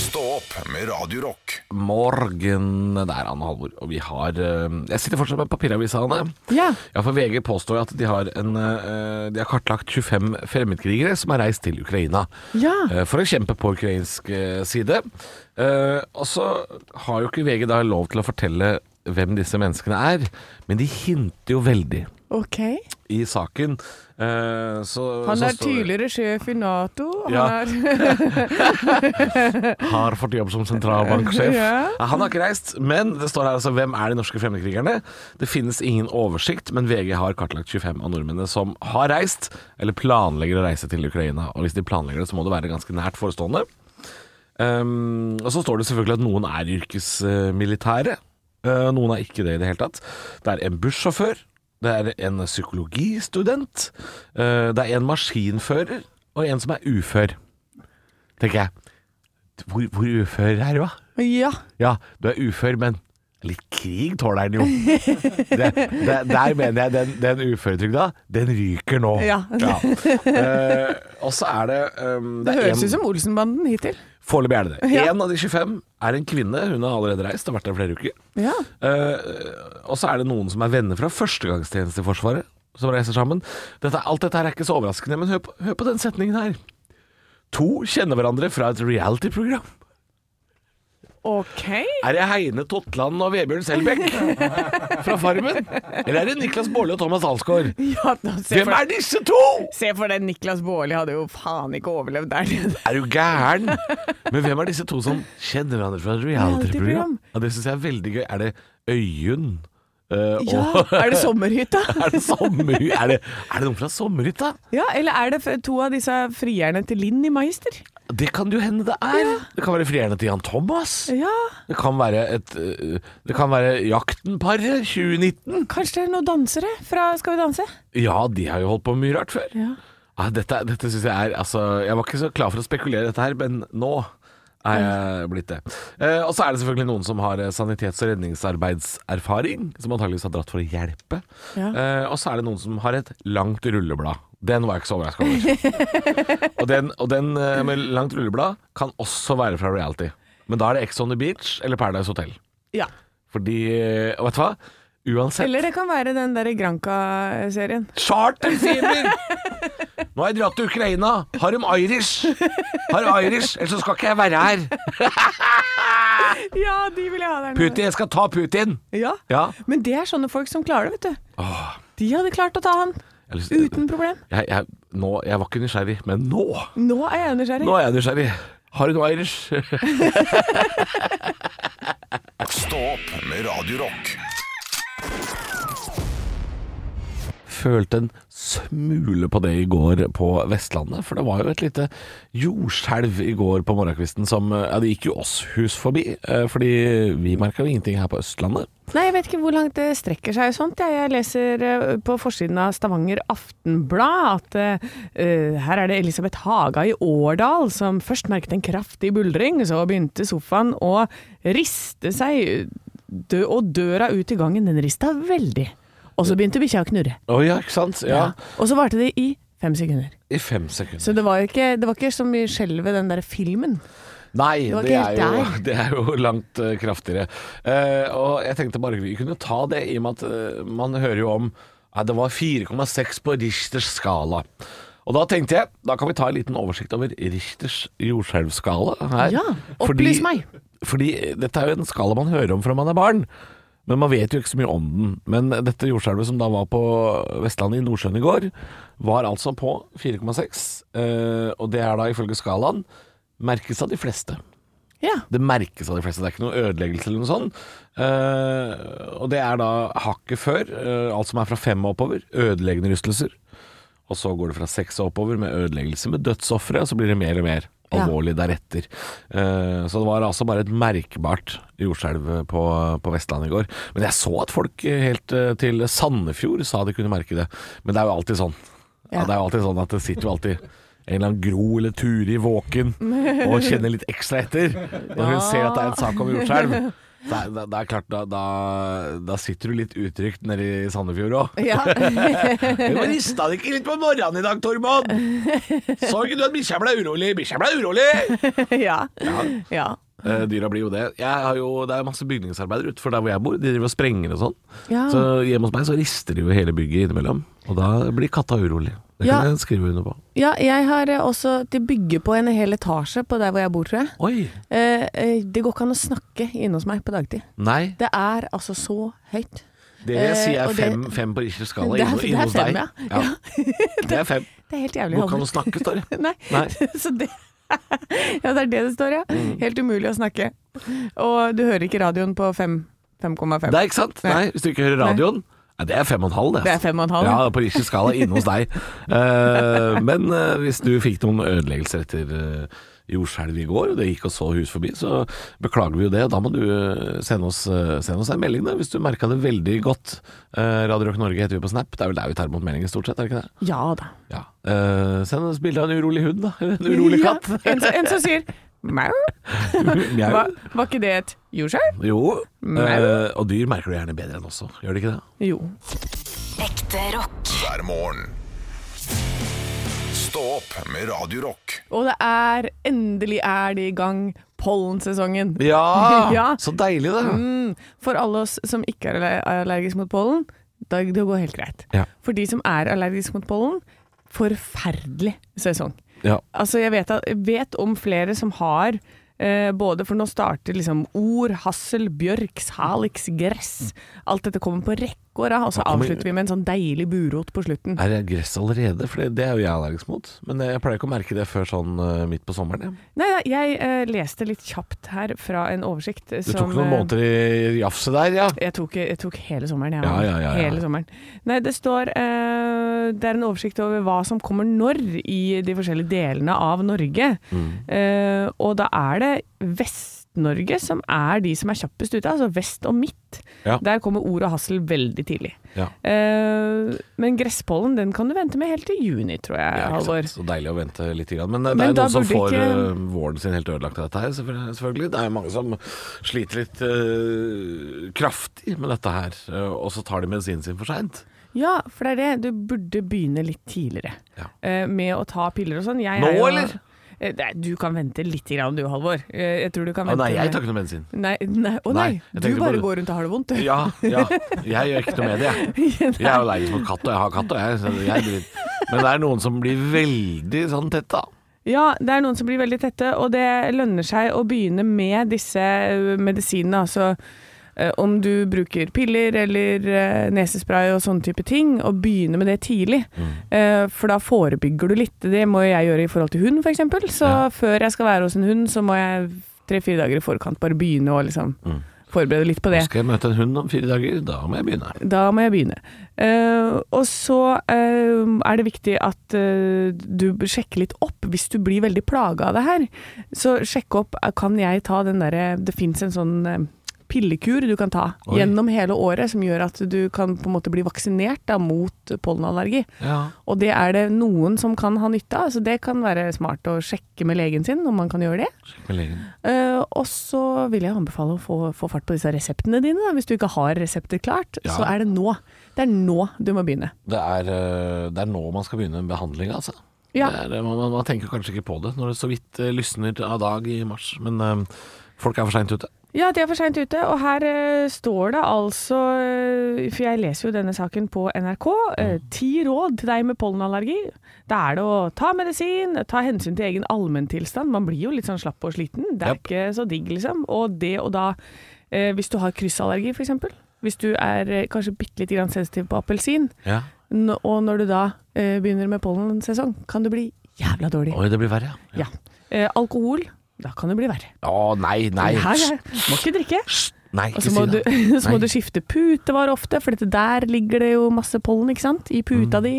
S2: Stå opp med Radio Rock.
S3: Morgen der, Anne Halvor. Og vi har eh, Jeg sitter fortsatt med papiravisa, Anne.
S4: <laughs> Ja.
S3: Ja, for VG påstår jo at de har, en, eh, de har kartlagt 25 fremmedkrigere som har reist til Ukraina.
S4: ja.
S3: Eh, For å kjempe på ukrainsk eh, side. Eh, Og så har jo ikke VG da lov til å fortelle hvem disse menneskene er, men de hinter jo veldig
S4: OK.
S3: i saken. Eh, Så,
S4: Han
S3: så
S4: er
S3: står det-
S4: tidligere sjef i Nato. Han
S3: Ja.
S4: er <laughs>
S3: Har fått jobb som sentralbanksjef.
S4: Ja.
S3: Nei, Han har ikke reist, men det står her altså hvem er de norske fremmedkrigerne. Det finnes ingen oversikt, men VG har kartlagt 25 av nordmennene som har reist, eller planlegger å reise til Ukraina. Og hvis de planlegger det, så må det være ganske nært forestående. Um, og så står det selvfølgelig at noen er yrkesmilitære. Uh, noen er ikke det i det hele tatt. Det er en bussjåfør. Det er en psykologistudent. Uh, det er en maskinfører. Og en som er ufør. Tenker jeg. Hvor, hvor ufør er du, da?
S4: Ja.
S3: Ja, du er ufør, men litt krig tåler
S4: <laughs>
S3: den jo. Det, det, der mener jeg den, den uføretrygda, den ryker nå.
S4: Ja.
S3: Eh, og så er det um,
S4: Det høres
S3: en-
S4: ut som Olsenbanden hittil.
S3: Foreløpig er det det.
S4: Ja.
S3: En av de 25 er en kvinne. Hun har allerede reist og vært der i flere uker.
S4: Ja.
S3: Eh, og så er det noen som er venner fra førstegangstjeneste i Forsvaret, som reiser sammen. Dette, alt dette her er ikke så overraskende, men hør på, hør på den setningen her. To kjenner hverandre fra et reality-program.
S4: OK.
S3: Er det Heine Totland og Vebjørn
S4: <laughs>
S3: Selbekk fra Farmen? Eller er det Niklas Baarli og Thomas Alsgaard?
S4: Ja, da, se,
S3: Hvem
S4: for,
S3: er disse to?
S4: se for deg, Niklas Baarli hadde jo faen ikke overlevd der nede.
S3: Er du gæren? Men hvem er disse to som kjenner hverandre fra et reality-program?
S4: Reality-program?
S3: Ja, det syns jeg er veldig gøy. Er det Øyunn? eh,
S4: Ja,
S3: og
S4: Er det sommerhytta?
S3: <laughs> er det, sommer, er, det, er det noen fra Sommerhytta?
S4: Ja, Eller er det f- to av disse frierne til Linn i Magister?
S3: Det kan jo hende det er. Det kan være frierne til Jan Thomas.
S4: Ja,
S3: Det kan være, et, eh, det kan være Jakten-paret 2019.
S4: Kanskje det er noen dansere fra Skal vi danse?
S3: Ja, de har jo holdt på mye rart før.
S4: Ja.
S3: Ja, Ah, dette dette syns jeg er altså, Jeg var ikke så klar for å spekulere i dette her, men nå er jeg blitt det. Eh, og så er det selvfølgelig noen som har eh, sanitets- og redningsarbeidserfaring, som antageligvis har dratt for å hjelpe.
S4: Ja.
S3: Eh, og så er det noen som har et langt rulleblad. Den var jeg ikke så overraska over. og den, og den eh, med langt rulleblad kan også være fra reality. Men da er det Ex on the Beach eller Paradise Hotel.
S4: ja.
S3: Fordi eh, Og vet du hva? Uansett
S4: Eller det kan være den der Granca-serien.
S3: Charterfeber! Nå har jeg dratt til Ukraina. Har de Irish? Har Irish, ellers så skal ikke jeg være her.
S4: Ja, de vil jeg ha der nede.
S3: Putin, jeg skal ta Putin!
S4: Ja.
S3: Ja.
S4: Men det er sånne folk som klarer det, vet du.
S3: Åh,
S4: De hadde klart å ta han.
S3: jeg, har lyst-
S4: Uten problem.
S3: jeg, jeg, nå, jeg var ikke nysgjerrig, men nå
S4: Nå er jeg nysgjerrig.
S3: Nå er jeg nysgjerrig. Har du noe Irish?
S2: Stå opp med Radio Rock.
S3: <laughs> Følte en smule på det i går på Vestlandet, for det var jo et lite jordskjelv i går på morgenkvisten som eh, Ja, det gikk jo oss hus forbi, eh, fordi vi merka jo ingenting her på Østlandet.
S4: Nei, jeg vet ikke hvor langt det strekker seg og sånt. Jeg, jeg leser eh, på forsiden av Stavanger Aftenblad at eh, her er det Elisabeth Haga i Årdal som først merket en kraftig buldring, så begynte sofaen å riste seg, dø, og døra ut i gangen, den rista veldig. Og så begynte bikkja å knurre.
S3: Å ja, ikke sant? Ja.
S4: Og så varte det i fem sekunder.
S3: I fem sekunder.
S4: Så det var ikke, det var ikke så mye skjelv ved den der filmen.
S3: Nei,
S4: Det var
S3: det,
S4: ikke
S3: er
S4: helt
S3: jo,
S4: der.
S3: <laughs> det er jo langt eh, kraftigere. Eh, og jeg tenkte bare vi kunne ta det, i og med at eh, man hører jo om Nei, det var 4,6 på Richters skala. Og da tenkte jeg, da kan vi ta en liten oversikt over Richters jordskjelvskala her.
S4: Ja, opplys
S3: Fordi-
S4: meg.
S3: Fordi eh, dette er jo en skala man hører om fra man er barn. Men man vet jo ikke så mye om den. Men dette jordskjelvet som da var på Vestlandet i Nordsjøen i går, var altså på 4,6. eh, og det er da ifølge skalaen merkes av de fleste.
S4: Ja.
S3: Det merkes av de fleste. Det er ikke noe ødeleggelse eller noe sånt. Eh, og det er da hakket før, eh, alt som er fra fem og oppover, ødeleggende rystelser. Og så går det fra seks og oppover med ødeleggelse med dødsofre, og så blir det mer og mer
S4: Ja.
S3: alvorlig deretter. Eh, så det var altså bare et merkbart jordskjelv på, på Vestlandet i går. Men jeg så at folk eh, helt eh, til Sandefjord sa de kunne merke det. Men det er jo alltid sånn. Ja,
S4: Ja.
S3: det er jo alltid sånn at det sitter jo alltid en eller annen Gro eller Turi våken og kjenner litt ekstra etter når hun ser at det er en sak om jordskjelv. Det er, det er klart, da, da, da sitter du litt utrygt nede i Sandefjord òg. <laughs> Rista det ikke litt på morgenen i dag, Tormod? Så ikke du at bikkja ble urolig? Bikkja ble urolig!
S4: <laughs> ja. ja.
S3: Eh, dyra blir jo det. Jeg har jo, det er masse bygningsarbeidere utenfor der hvor jeg bor. De driver og sprenger og sånn.
S4: Ja.
S3: Så hjemme hos meg så rister de jo hele bygget innimellom. Og da blir katta urolig. Det
S4: Ja.
S3: kan jeg skrive under på.
S4: Ja, jeg har eh, også De bygger på en hel etasje på der hvor jeg bor, tror jeg.
S3: Oi!
S4: Eh, eh, det går ikke an å snakke inne hos meg på dagtid.
S3: Nei,
S4: Det er altså så høyt.
S3: det
S4: Eh,
S3: sier jeg
S4: og
S3: er
S4: det-
S3: fem, fem på Richters skala
S4: Det er- altså,
S3: inne
S4: det er
S3: inne hos
S4: fem,
S3: deg.
S4: ja.
S3: Det er fem.
S4: <laughs> Det er helt jævlig.
S3: Hvor kan
S4: aldri.
S3: du snakke,
S4: <laughs>
S3: står det.
S4: Nei.
S3: Nei. Mm.
S4: så det <laughs> Ja, det er det det står, ja. Helt umulig å snakke. Og du hører ikke radioen på fem- 5,5.
S3: Nei, ikke sant? Nei, hvis du ikke hører radioen. Nei, det er fem og en halv, det. altså.
S4: Det er fem og en halv,
S3: Ja,
S4: ja.
S3: på Richters skala inne hos
S4: <laughs>
S3: deg. Eh, men eh, hvis du fikk noen ødeleggelser etter uh, jordskjelv i går, og det gikk oss så hus forbi, så beklager vi jo det. Da må du eh, sende oss, eh, sende oss en melding, da, hvis du merka det veldig godt. Eh, Radio Rock Norge heter vi på Snap. Det er vel der vi tar imot meldinger, stort sett, er det ikke det?
S4: Ja da.
S3: Ja. Eh, send oss bilde av en urolig hund, da. <laughs> Eller en urolig katt.
S4: Ja, en,
S3: <laughs>
S4: som- en som sier mau.
S3: Mjau.
S4: Hva, var ikke det et jordskjelv?
S3: Jo,
S4: Mjau.
S3: eh, og dyr merker du gjerne bedre enn også, gjør de ikke det?
S4: Jo.
S5: Ekte rock.
S2: hver morgen. Stå opp med Radio Rock.
S4: Og det er Endelig er det i gang. Pollensesongen.
S3: <laughs> Ja,
S4: Ja.
S3: så deilig det.
S4: Mm, for alle oss som ikke er aller- allergisk mot pollen, da, det går helt greit.
S3: Ja.
S4: For de som er allergisk mot pollen, forferdelig sesong.
S3: Ja.
S4: Altså, jeg vet, at, jeg vet om flere som har eh, både for nå starter liksom ord, hassel, bjørk, salix, gress. Alt dette kommer på rekke og rad, og så
S3: kommer-
S4: avslutter vi med en sånn deilig burot på slutten.
S3: Er det gress allerede? For det, det er jo jeg allergisk mot. Men eh, jeg pleier ikke å merke det før sånn eh, midt på sommeren. Jeg.
S4: Nei, nei, jeg eh, leste litt kjapt her fra en oversikt eh,
S3: Det
S4: som
S3: tok noen
S4: eh,
S3: måneder i jafset der, ja.
S4: Jeg tok, jeg tok hele sommeren, jeg.
S3: Ja, ja, ja, ja.
S4: Hele sommeren. Nei, det står eh, Det er en oversikt over hva som kommer når i de forskjellige delene av Norge.
S3: Mm.
S4: Eh, og da er det Vest-Norge som er de som er kjappest ute, altså vest og midt.
S3: Ja.
S4: Der kommer ord og hassel veldig tidlig.
S3: Ja.
S4: Eh, men gresspollen den kan du vente med helt til juni, tror jeg,
S3: Ja, ikke
S4: Halvor.
S3: sant? Så deilig å vente litt. Grann. Men eh, det
S4: Men
S3: er
S4: da
S3: noen som
S4: burde
S3: får
S4: ikke-
S3: eh, våren sin helt ødelagt av dette her, selvfølgelig- selvfølgelig. Det er jo mange som sliter litt eh, kraftig med dette her, eh, og så tar de medisinen sin for seint.
S4: Ja, for det er det. Du burde begynne litt tidligere
S3: Ja.
S4: eh, med å ta piller og sånn. Jeg
S3: Nå,
S4: er jo-
S3: eller?
S4: Eh, Nei, du kan vente litt grann du, Halvor. Eh, Jeg tror du kan
S3: Å
S4: vente
S3: nei, jeg tar ikke noe medisin.
S4: Nei, nei, å nei,
S3: Nei, jeg
S4: du
S3: tenkte
S4: bare
S3: bare-
S4: går rundt og har det vondt, du.
S3: Ja, ja. Jeg gjør ikke noe med det, jeg.
S4: <laughs>
S3: <laughs> Jeg er jo allergisk mot katt, og jeg har katt, og jeg, så jeg blir- Men det er noen som blir veldig sånn tett, da.
S4: Ja, det er noen som blir veldig tette, og det lønner seg å begynne med disse ø, medisinene. Altså ø, om du bruker piller eller ø, nesespray og sånne type ting, og begynne med det tidlig.
S3: Mm.
S4: Eh, For da forebygger du litt. Det må jeg gjøre i forhold til hund, f.eks. Så
S3: Ja.
S4: før jeg skal være hos en hund, så må jeg tre-fire dager i forkant bare begynne å liksom
S3: Mm.
S4: forberede litt på det.
S3: Skal jeg møte en hund om fire dager? Da må jeg begynne.
S4: Da må jeg begynne. Eh, og så eh, er det viktig at eh, du sjekker litt opp hvis du blir veldig plaga av det her. Så sjekk opp eh, Kan jeg ta den derre Det fins en sånn eh, pillekur du kan ta
S3: Oi.
S4: gjennom hele året som gjør at du kan på en måte bli vaksinert da, mot pollenallergi.
S3: Ja.
S4: Og det er det noen som kan ha nytte av, så det kan være smart å sjekke med legen sin om man kan gjøre det.
S3: Sjekk med legen.
S4: Eh, og så vil jeg anbefale å få, få fart på disse reseptene dine. Da. Hvis du ikke har resepter klart,
S3: Ja.
S4: så er det nå. Det er nå du må begynne.
S3: Det er, eh, det er nå man skal begynne en behandling, altså.
S4: Ja.
S3: Det er, eh, man, man tenker kanskje ikke på det når det så vidt eh, lysner av dag i mars, men eh, folk er for seint ute.
S4: Ja, de er for seint ute. Og her eh, står det altså eh, For jeg leser jo denne saken på NRK. eh, Ti råd til deg med pollenallergi. Da er det å ta medisin, ta hensyn til egen allmenntilstand. Man blir jo litt sånn slapp og sliten. Det er
S3: Japp.
S4: ikke så digg, liksom. Og det og da eh, Hvis du har kryssallergi, f.eks. Hvis du er eh, kanskje bitte lite grann sensitiv på appelsin,
S3: Ja.
S4: n- og når du da eh, begynner med pollensesong, kan du bli jævla dårlig.
S3: Oi, det blir verre, ja.
S4: Ja. Eh, alkohol, da kan det bli verre.
S3: Å nei, nei.
S4: Her,
S3: Hysj,
S4: her. Må ikke drikke.
S3: hysj. Nei,
S4: Og
S3: ikke
S4: så
S3: si
S4: må, du,
S3: det.
S4: <laughs> så må
S3: Nei.
S4: du skifte putevar ofte, for dette der ligger det jo masse pollen ikke sant? i
S3: Mm.
S4: puta di.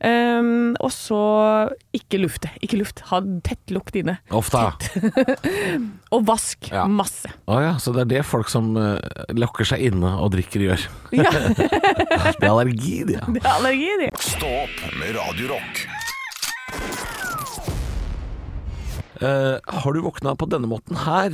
S4: Ehm, og så ikke lufte. Ikke luft. Ha tett lukt inne.
S3: Ofte, ja.
S4: Og vask
S3: Ja.
S4: masse.
S3: Å ja. Så det er det folk som eh, lokker seg inne og drikker, gjør.
S4: Ja,
S3: <laughs> Det er allergi, det. Ja.
S4: det er allergi, det.
S2: Stå opp med Radio Rock.
S3: Eh, har du våkna på denne måten her?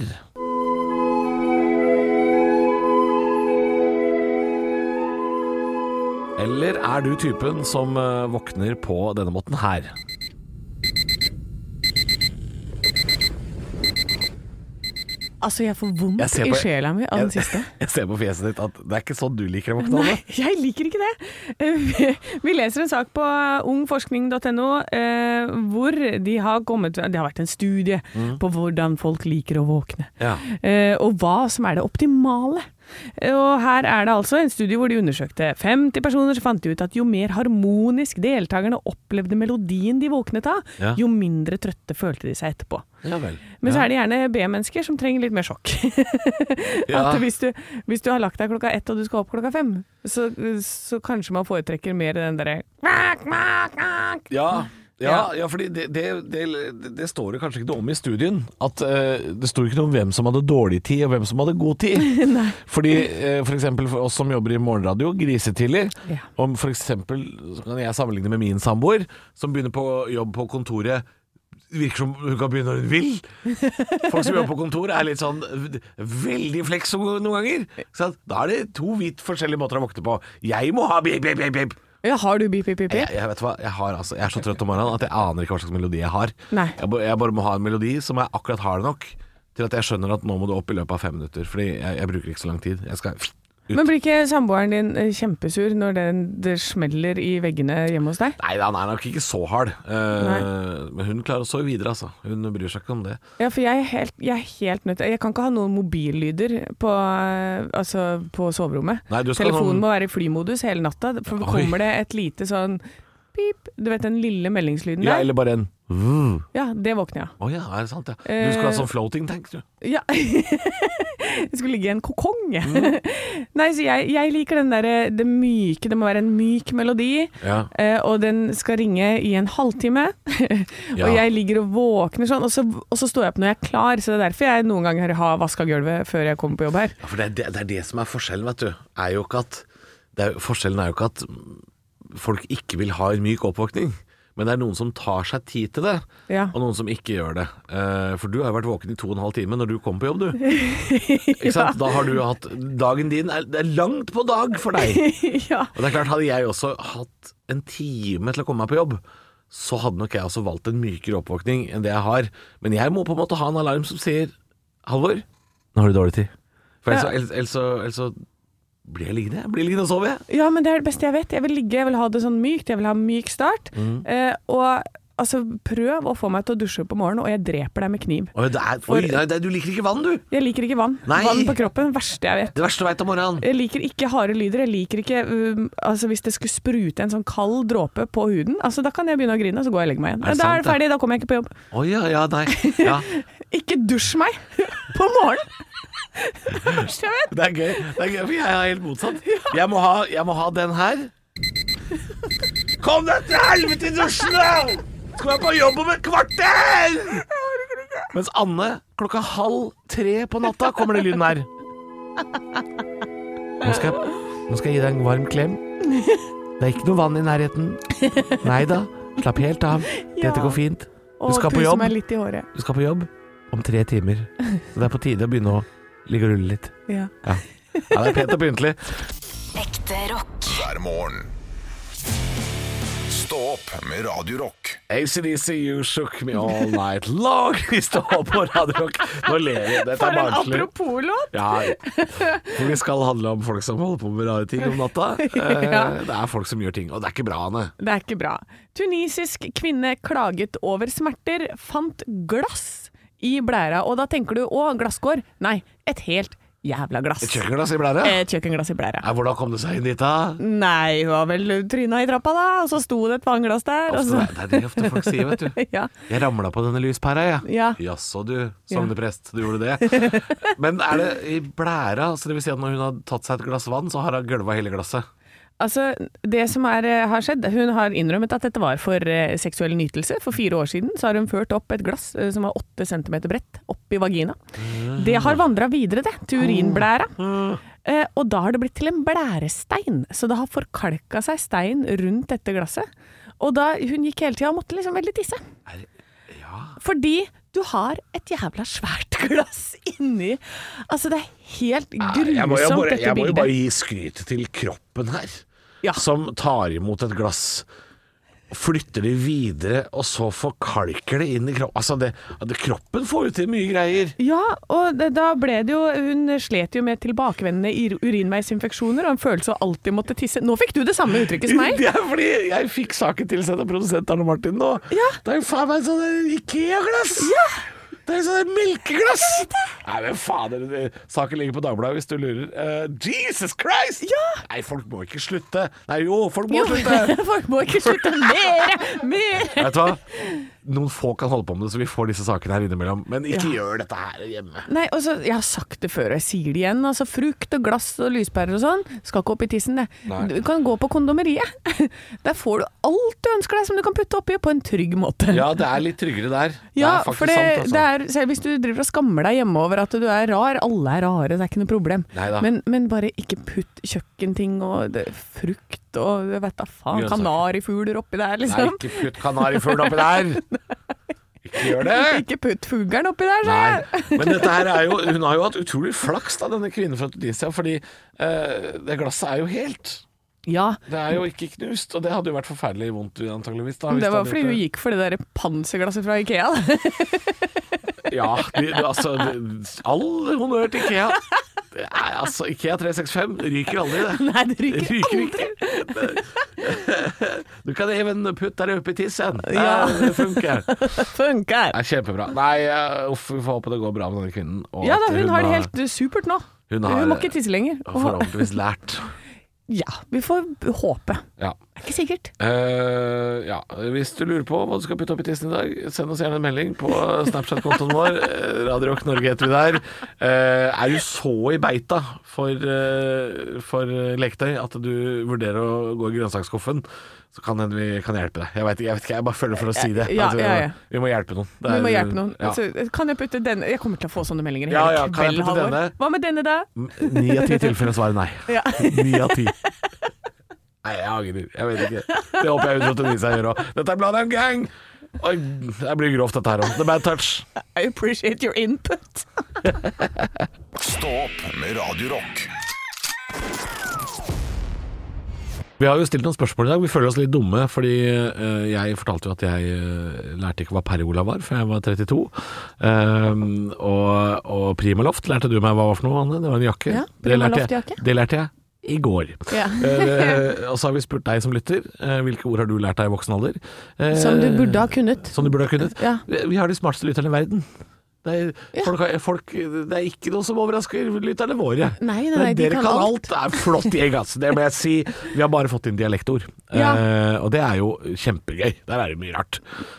S3: Eller er du typen som eh, våkner på denne måten her?
S4: Altså, jeg får
S3: Jeg
S4: vondt
S3: ser
S4: i
S3: på-
S4: sjela mi av den
S3: <laughs> Jeg-
S4: siste.
S3: Jeg ser på fjeset ditt at det er ikke sånn du liker å våkne.
S4: Nei,
S3: Anne.
S4: <laughs> jeg liker ikke det. Eh, <laughs> Vi leser en sak på ungforskning.no eh, hvor de har kommet Det har vært en studie på hvordan folk liker å våkne.
S3: Mm. Ja.
S4: Eh, og hva som er det optimale. Eh, Og her er det altså en studie hvor de undersøkte 50 personer, så fant de ut at jo mer harmonisk deltakerne opplevde melodien de våknet av,
S3: Ja.
S4: jo mindre trøtte følte de seg etterpå.
S3: ja vel.
S4: Men så
S3: Ja.
S4: er det gjerne B-mennesker som trenger litt mer sjokk. <laughs>
S3: Ja.
S4: At hvis du, hvis du har lagt deg klokka ett og du skal opp klokka fem, så, så kanskje man foretrekker mer den derre «kvakk, kvakk, kvakk».
S3: Ja, ja, ja fordi det, det, det, det står det kanskje ikke noe om i studien. At eh, Det sto ikke noe om hvem som hadde dårlig tid, og hvem som hadde god tid. fordi eh, for eksempel for oss som jobber i morgenradio, grisetidlig
S4: Ja.
S3: Om for eksempel, så kan jeg sammenligne med min samboer, som begynner på jobb på kontoret Virker som hun kan begynne når hun vil. Folk som jobber på kontor er litt sånn v- veldig flex noen ganger. Ikke sant? Da er det to vidt forskjellige måter å våkne på. Jeg må ha bip, bip, bip, bip.
S4: Ja, har du bip, bip, bip,
S3: Jeg,
S4: bip?
S3: jeg vet hva, jeg, har, altså, jeg er så trøtt om morgenen at jeg aner ikke hva slags melodi jeg har.
S4: Nei.
S3: Jeg, ba- jeg bare må ha en melodi som jeg akkurat har det nok til at jeg skjønner at nå må du opp i løpet av fem minutter. Fordi jeg, jeg bruker ikke så lang tid. Jeg skal ut.
S4: Men blir ikke samboeren din eh, kjempesur når den, det smeller i veggene hjemme hos deg?
S3: Nei, han er nok ikke så hard. Eh, men hun klarer å sove videre, altså. Hun bryr seg ikke om det.
S4: Ja, for jeg er helt, jeg er helt nødt Jeg kan ikke ha noen mobillyder på, eh, altså, på soverommet.
S3: Nei, du skal ha
S4: Telefonen
S3: sånn-
S4: må være i flymodus hele natta, for
S3: Oi.
S4: kommer det et lite sånn pip Du vet den lille meldingslyden
S3: Ja,
S4: der?
S3: eller bare en «vuh».
S4: Ja, det våkner jeg av.
S3: Å ja, er det sant? Ja. Du skal ha sånn floating tank, du.
S4: Ja. <laughs> Jeg skulle ligge i en kokong, jeg.
S3: Mm.
S4: <laughs> Nei, så jeg, jeg liker den derre det myke. Det må være en myk melodi.
S3: Ja.
S4: eh, Og den skal ringe i en halvtime. <laughs>
S3: Ja.
S4: Og jeg ligger og våkner sånn, og så, og så står jeg opp når jeg er klar. Så det er derfor jeg noen ganger har vaska gulvet før jeg kommer på jobb her. <laughs>
S3: Ja, for det er det, det er det som er forskjellen, vet du. Er jo ikke at, det er, jo- forskjellen er jo ikke at folk ikke vil ha en myk oppvåkning. Men det er noen som tar seg tid til det,
S4: Ja.
S3: og noen som ikke gjør det. Eh, for du har jo vært våken i to og en halv time når du kom på jobb, du. Ikke sant? Da har du hatt Dagen din er, det er langt på dag for deg.
S4: ja.
S3: Og det er klart, hadde jeg også hatt en time til å komme meg på jobb, så hadde nok jeg også valgt en mykere oppvåkning enn det jeg har. Men jeg må på en måte ha en alarm som sier Halvor, nå har du dårlig tid. For ellers,
S4: Ja.
S3: ellers, ellers, så- ellers så blir jeg liggende. Jeg blir liggende og sove, jeg. Mm.
S4: Ja, men det er det beste jeg vet. Jeg vil ligge, jeg vil ha det sånn mykt, jeg vil ha myk start. Eh, og Altså, prøv å få meg til å dusje på morgenen, og jeg dreper deg med kniv.
S3: Oi, det er, oi, nei, det er- du liker ikke vann, du!
S4: Jeg liker ikke vann.
S3: Nei.
S4: Vann på kroppen, verste jeg vet.
S3: Det verste du veit om morgenen.
S4: Jeg liker ikke harde lyder. Jeg liker ikke um, altså hvis det skulle sprute en sånn kald dråpe på huden. Altså Da kan jeg begynne å grine, og så går jeg og legger meg igjen.
S3: Er det
S4: da er
S3: sant,
S4: det ferdig, da kommer jeg ikke på jobb.
S3: Å ja, ja, nei. Ja. <laughs>
S4: Ikke dusj meg <laughs> på morgenen! Det verste jeg vet.
S3: Det er gøy, det er gøy for jeg er helt motsatt. Jeg må ha, jeg må ha den her. Kom deg til helvete i dusjen, da! Skal være på jobb om et kvarter! Mens Anne klokka halv tre på natta kommer det lyden her. Nå skal, jeg, nå skal jeg gi deg en varm klem. Det er ikke noe vann i nærheten. Nei da, slapp helt av. Dette går fint.
S4: Og
S3: skal på
S4: puser
S3: jobb?
S4: meg litt i håret.
S3: Du skal på jobb om tre timer, så det er på tide å begynne å ligge og rulle litt.
S4: Ja.
S3: Ja, ja det er pent og pyntelig.
S5: Ekte rock.
S2: hver morgen. Stå opp med Radio Rock.
S3: ACDC, you shook me all night long. <laughs> Vi står på Radio Rock. Nå ler vi. Dette er
S4: For en
S3: barnslig.
S4: apropos-låt!
S3: Ja, for vi skal handle om folk som holder på med rare ting om
S4: <laughs>
S3: natta. Eh, Det er folk som gjør ting, og det er ikke bra, Anne.
S4: Det er ikke bra. Tunisisk kvinne klaget over smerter, fant glass i blæra. Og da tenker du å, glasskår. Nei, et helt jævla glass.
S3: Et kjøkkenglass i blæra?
S4: Et kjøkkenglass i blæra.
S3: Nei, Hvordan kom det seg inn dit, da?
S4: Nei, hun var vel tryna i trappa da, og så sto det et vannglass der. Og
S3: Altså,
S4: så,
S3: det er det ofte folk sier, vet du.
S4: <laughs> ja.
S3: Jeg ramla på denne lyspæra, jeg.
S4: Ja.
S3: Jaså du, sogneprest, du gjorde
S4: <laughs>
S3: det. Men er det i blæra, så det vil si at når hun har tatt seg et glass vann, så har hun gølva hele glasset?
S4: Altså, det som er, eh, har skjedd, hun har innrømmet at dette var for eh, seksuell nytelse. For fire år siden så har hun ført opp et glass eh, som var åtte centimeter bredt, opp i vagina. Det har vandra videre, det, til urinblæra.
S3: Ah,
S4: Eh, og da har det blitt til en blærestein, så det har forkalka seg stein rundt dette glasset. Og da hun gikk hele tida og måtte liksom veldig tisse. Fordi du har et jævla svært <laughs> glass inni Altså, det er helt grusomt,
S3: Ah, Jeg må, jeg bare,
S4: dette
S3: jeg må jo
S4: bildet.
S3: bare gi skryt til kroppen her,
S4: Ja.
S3: som tar imot et glass. Flytter det videre, og så forkalker det inn i kroppen. Altså det, det, kroppen får jo til mye greier.
S4: Ja, og det, da ble det jo Hun slet jo med tilbakevendende ir- urinveisinfeksjoner og en følelse av alltid måtte tisse. Nå fikk du det samme uttrykket som meg!
S3: <laughs> Det er fordi jeg fikk saken tilsendt av produsent Arne Martin nå.
S4: Ja.
S3: Det er jo faen meg sånn Ikea-glass! Det er jo sånn melkeglass! Nei, men fader. det- Saken ligger på Dagbladet hvis du lurer. Eh, Jesus Christ! Nei, folk må ikke slutte. Nei jo, folk må
S4: Jo,
S3: slutte.
S4: <laughs> folk må ikke slutte mer! Mer!
S3: Vet du hva? Noen få kan holde på med det, så vi får disse sakene her innimellom. Men ikke gjør dette her hjemme.
S4: Nei, og så, Jeg har sagt det før, og jeg sier det igjen. altså Frukt og glass og lyspærer og sånn skal ikke opp i tissen. det.
S3: Nei.
S4: Du kan gå på kondomeriet. <laughs> Der får du alt du ønsker deg som du kan putte oppi på en trygg måte.
S3: Ja, det er altså. litt tryggere der.
S4: Ja, for det, det er, selv hvis du driver og skammer deg hjemme over at du er rar, alle er rare, det er ikke noe problem.
S3: Neida.
S4: Men, men bare ikke putt kjøkkenting og det, frukt og jeg vet da faen,
S3: Grønnsaker.
S4: kanarifugler oppi der,
S3: Nei,
S4: liksom.
S3: ikke putt kanarifugl oppi
S4: <laughs>
S3: der! Ikke gjør det!
S4: Ikke putt fuglen oppi der, sa jeg.
S3: Nei. Men dette her er jo Hun har jo hatt utrolig flaks, da, denne kvinnen fra Tunisia, fordi eh, det glasset er jo helt.
S4: Ja,
S3: Det er jo ikke knust, og det hadde jo vært forferdelig vondt antageligvis da. hvis
S4: det var
S3: hadde
S4: fordi
S3: gjort
S4: hun
S3: det.
S4: gikk for det der panserglasset fra Ikea. da. <laughs>
S3: Ja, de, de, altså de, All honnør til Ikea. Det er, altså, Ikea 365 ryker aldri, det.
S4: Nei, det ryker
S3: ikke. <laughs> Du kan even putte deg oppi tissen.
S4: <laughs> Ja.
S3: Det funker. Det
S4: Funker.
S3: er kjempebra. Nei, eh, uff, vi får håpe det går bra med denne kvinnen. og
S4: Ja
S3: at
S4: da, hun har det helt supert nå.
S3: Hun
S4: Hun,
S3: har-
S4: må ikke tisse lenger. Og,
S3: Forhåpentligvis lært.
S4: ja, vi får håpe.
S3: Ja.
S4: Det er ikke sikkert.
S3: Eh, ja. Hvis du lurer på hva du skal putte opp i tissen i dag, send oss gjerne en melding på Snapchat-kontoen vår. Eh, Radio Rock Norge heter vi der. Eh, er du så i beita for, eh, for eh, leketøy at du vurderer å gå i grønnsaksskuffen, så kan hende vi kan hjelpe deg. Jeg vet, ikke- jeg vet ikke, jeg bare føler for å si det.
S4: Ja,
S3: At vi,
S4: ja, ja.
S3: vi må hjelpe noen. Det
S4: Vi
S3: er-
S4: må hjelpe noen.
S3: Ja.
S4: Altså, kan jeg putte denne Jeg kommer til å få sånne meldinger hele
S3: Ja, ja, kan jeg
S4: kvelden,
S3: putte
S4: Halvor.
S3: denne?
S4: Hva med denne, da?
S3: Ni av ti tilfeller svarer nei.
S4: Ja. <laughs>
S3: Ni av ti. Nei, jeg angrer. Jeg vet ikke. Det håper jeg 129 gjør òg. Dette er Bladheim Gang! Oi, det blir grovt dette her òg. The Bad Touch.
S4: I appreciate your input.
S2: Stå opp med Radio Rock.
S3: Vi har jo stilt noen spørsmål i dag. Vi føler oss litt dumme, fordi eh, jeg fortalte jo at jeg eh, lærte ikke hva pergola var før jeg var 32. Ehm, og, og primaloft lærte du meg hva var for noe, Anne. Det var en jakke.
S4: Ja,
S3: det, lærte jeg,
S4: primaloftjakke.
S3: det lærte jeg i
S4: <laughs>
S3: går.
S4: Ja.
S3: Eh, og så har vi spurt deg som lytter, eh, hvilke ord har du lært deg i voksen alder? Eh,
S4: Som du burde ha kunnet.
S3: Som du burde ha kunnet.
S4: Ja.
S3: Vi vi har de smarteste lytterne i verden. Det er, folk, har- folk, det er ikke noe som overrasker lytterne våre.
S4: Nei, nei,
S3: Men
S4: nei, de
S3: dere
S4: kan
S3: kan alt.
S4: alt.
S3: Det er flott gjeng, ass. Det må jeg si. Vi har bare fått inn dialektord.
S4: Ja.
S3: Eh, og det er jo kjempegøy. Der er det mye rart.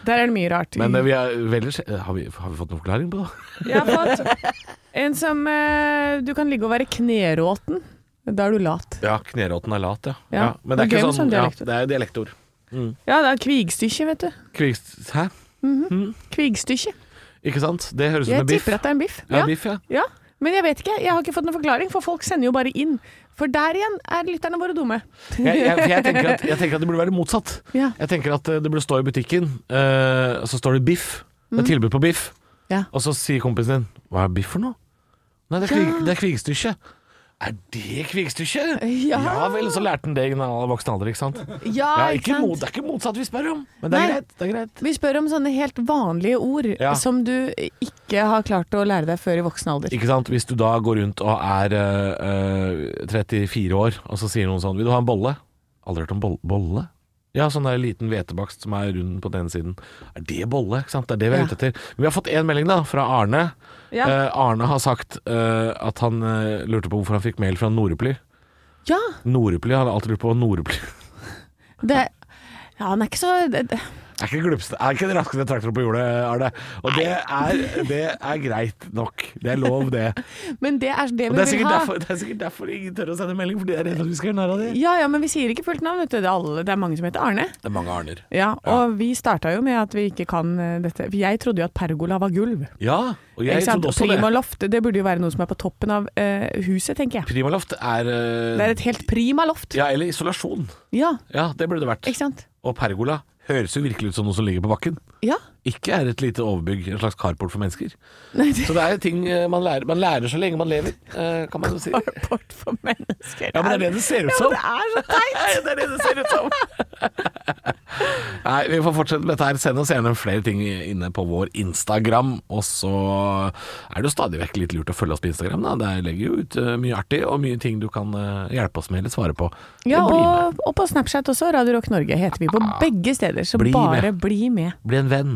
S4: Der er det mye rart.
S3: Men eh, vi er veldig, har, vi, har vi fått noen forklaring på det?
S4: Jeg har fått en som eh, Du kan ligge og være kneråten. Da er du lat.
S3: Ja, kneråten er lat, ja. Mm.
S4: Ja.
S3: Men det er
S4: Det er
S3: ikke
S4: gøy med
S3: sånn
S4: sånn
S3: ja,
S4: dialektord.
S3: Det er jo dialektord.
S4: Ja, det er kvigstykke, vet du.
S3: Kvigst- Hæ?
S4: Mhm.
S3: Mm.
S4: Kvigstykke.
S3: Ikke sant? Det høres ut
S4: Jeg
S3: som en biff.
S4: tipper at det er en biff.
S3: Ja, biff, ja.
S4: Ja, men jeg vet ikke. Jeg har ikke fått noen forklaring, for folk sender jo bare inn. For der igjen er lytterne våre dumme.
S3: Jeg, jeg, for jeg, tenker at, jeg tenker at det burde være motsatt.
S4: Ja.
S3: Jeg tenker at eh, det burde stå i butikken, eh, og så står det biff. Det er tilbud på biff.
S4: Mm. Ja.
S3: Og så sier kompisen din 'hva er biff for noe?' Nei, det er, kvig, det er kvigstykke. Er det kvigstykke?
S4: Ja.
S3: vel, så lærte han det i voksen alder, ikke sant? Ja, ikke mot, det er ikke motsatt vi spør om, men det er
S4: Nei.
S3: greit. Det er greit.
S4: Vi spør om sånne helt vanlige ord
S3: Ja.
S4: som du ikke har klart å lære deg før i voksen alder.
S3: Ikke sant, Hvis du da går rundt og er eh, eh, 34 år, og så sier noen sånn 'Vil du ha en bolle?' Aldri hørt om boll bolle? Ja, sånn der liten hvetebakst som er rund på den ene siden. Er det bolle? ikke sant? Det er det vi er
S4: Ja.
S3: ute etter. Men vi har fått én melding da, fra Arne.
S4: Ja.
S3: Eh, Arne har sagt eh, at han eh, lurte på hvorfor han fikk mail fra Noreply.
S4: Ja,
S3: Noreply, Han har alltid lurt på hva Noreply <laughs>
S4: det ja, han er ikke så det, det-
S3: Er ikke glupste, er ikke den raskeste traktoren på jordet, Arne. Og det er, det er greit nok. Det er lov, det.
S4: <laughs> Men det er det
S3: Og det er,
S4: vi vil
S3: sikkert
S4: ha.
S3: derfor, det er sikkert derfor ingen tør å sende melding, for de er redd at vi skal gjøre narr av dem.
S4: Ja, ja, men vi sier ikke fullt navn. Vet du. Det, er alle, det er mange som heter Arne.
S3: Det er mange Arner.
S4: Ja, og vi starta jo med at vi ikke kan eh, dette. For Jeg trodde jo at pergola var gulv.
S3: Ja, og jeg
S4: ikke sant?
S3: trodde også det.
S4: primaloft, det. burde jo være noe som er på toppen av eh, huset, tenker jeg.
S3: Primaloft er, eh,
S4: Det er et helt primaloft.
S3: Ja, eller isolasjon.
S4: Ja,
S3: Ja, det burde det vært.
S4: ikke sant?
S3: Og pergola høres jo virkelig ut som noe som ligger på bakken.
S4: Ja.
S3: Ikke er et lite overbygg, en slags carport for mennesker.
S4: Nei, det
S3: Så det er jo ting eh, man lærer, man lærer så lenge man lever, eh, kan man jo si.
S4: er rapport for mennesker.
S3: Ja, men det er det det ser ut som.
S4: Ja, men det er så
S3: <laughs>
S4: teit!
S3: det er det det ser ut som. Nei, vi får fortsette med dette her. Send oss gjerne flere ting inne på vår Instagram. Og så er det jo stadig vekk litt lurt å følge oss på Instagram. Da. Der legger jo ut eh, mye artig, og mye ting du kan eh, hjelpe oss med eller svare på.
S4: Ja,
S3: Bli med.
S4: og, og på Snapchat også, Radio Rock Norge heter vi på begge steder, så
S3: Ah. Bli med.
S4: bare bli med.
S3: Bli en venn.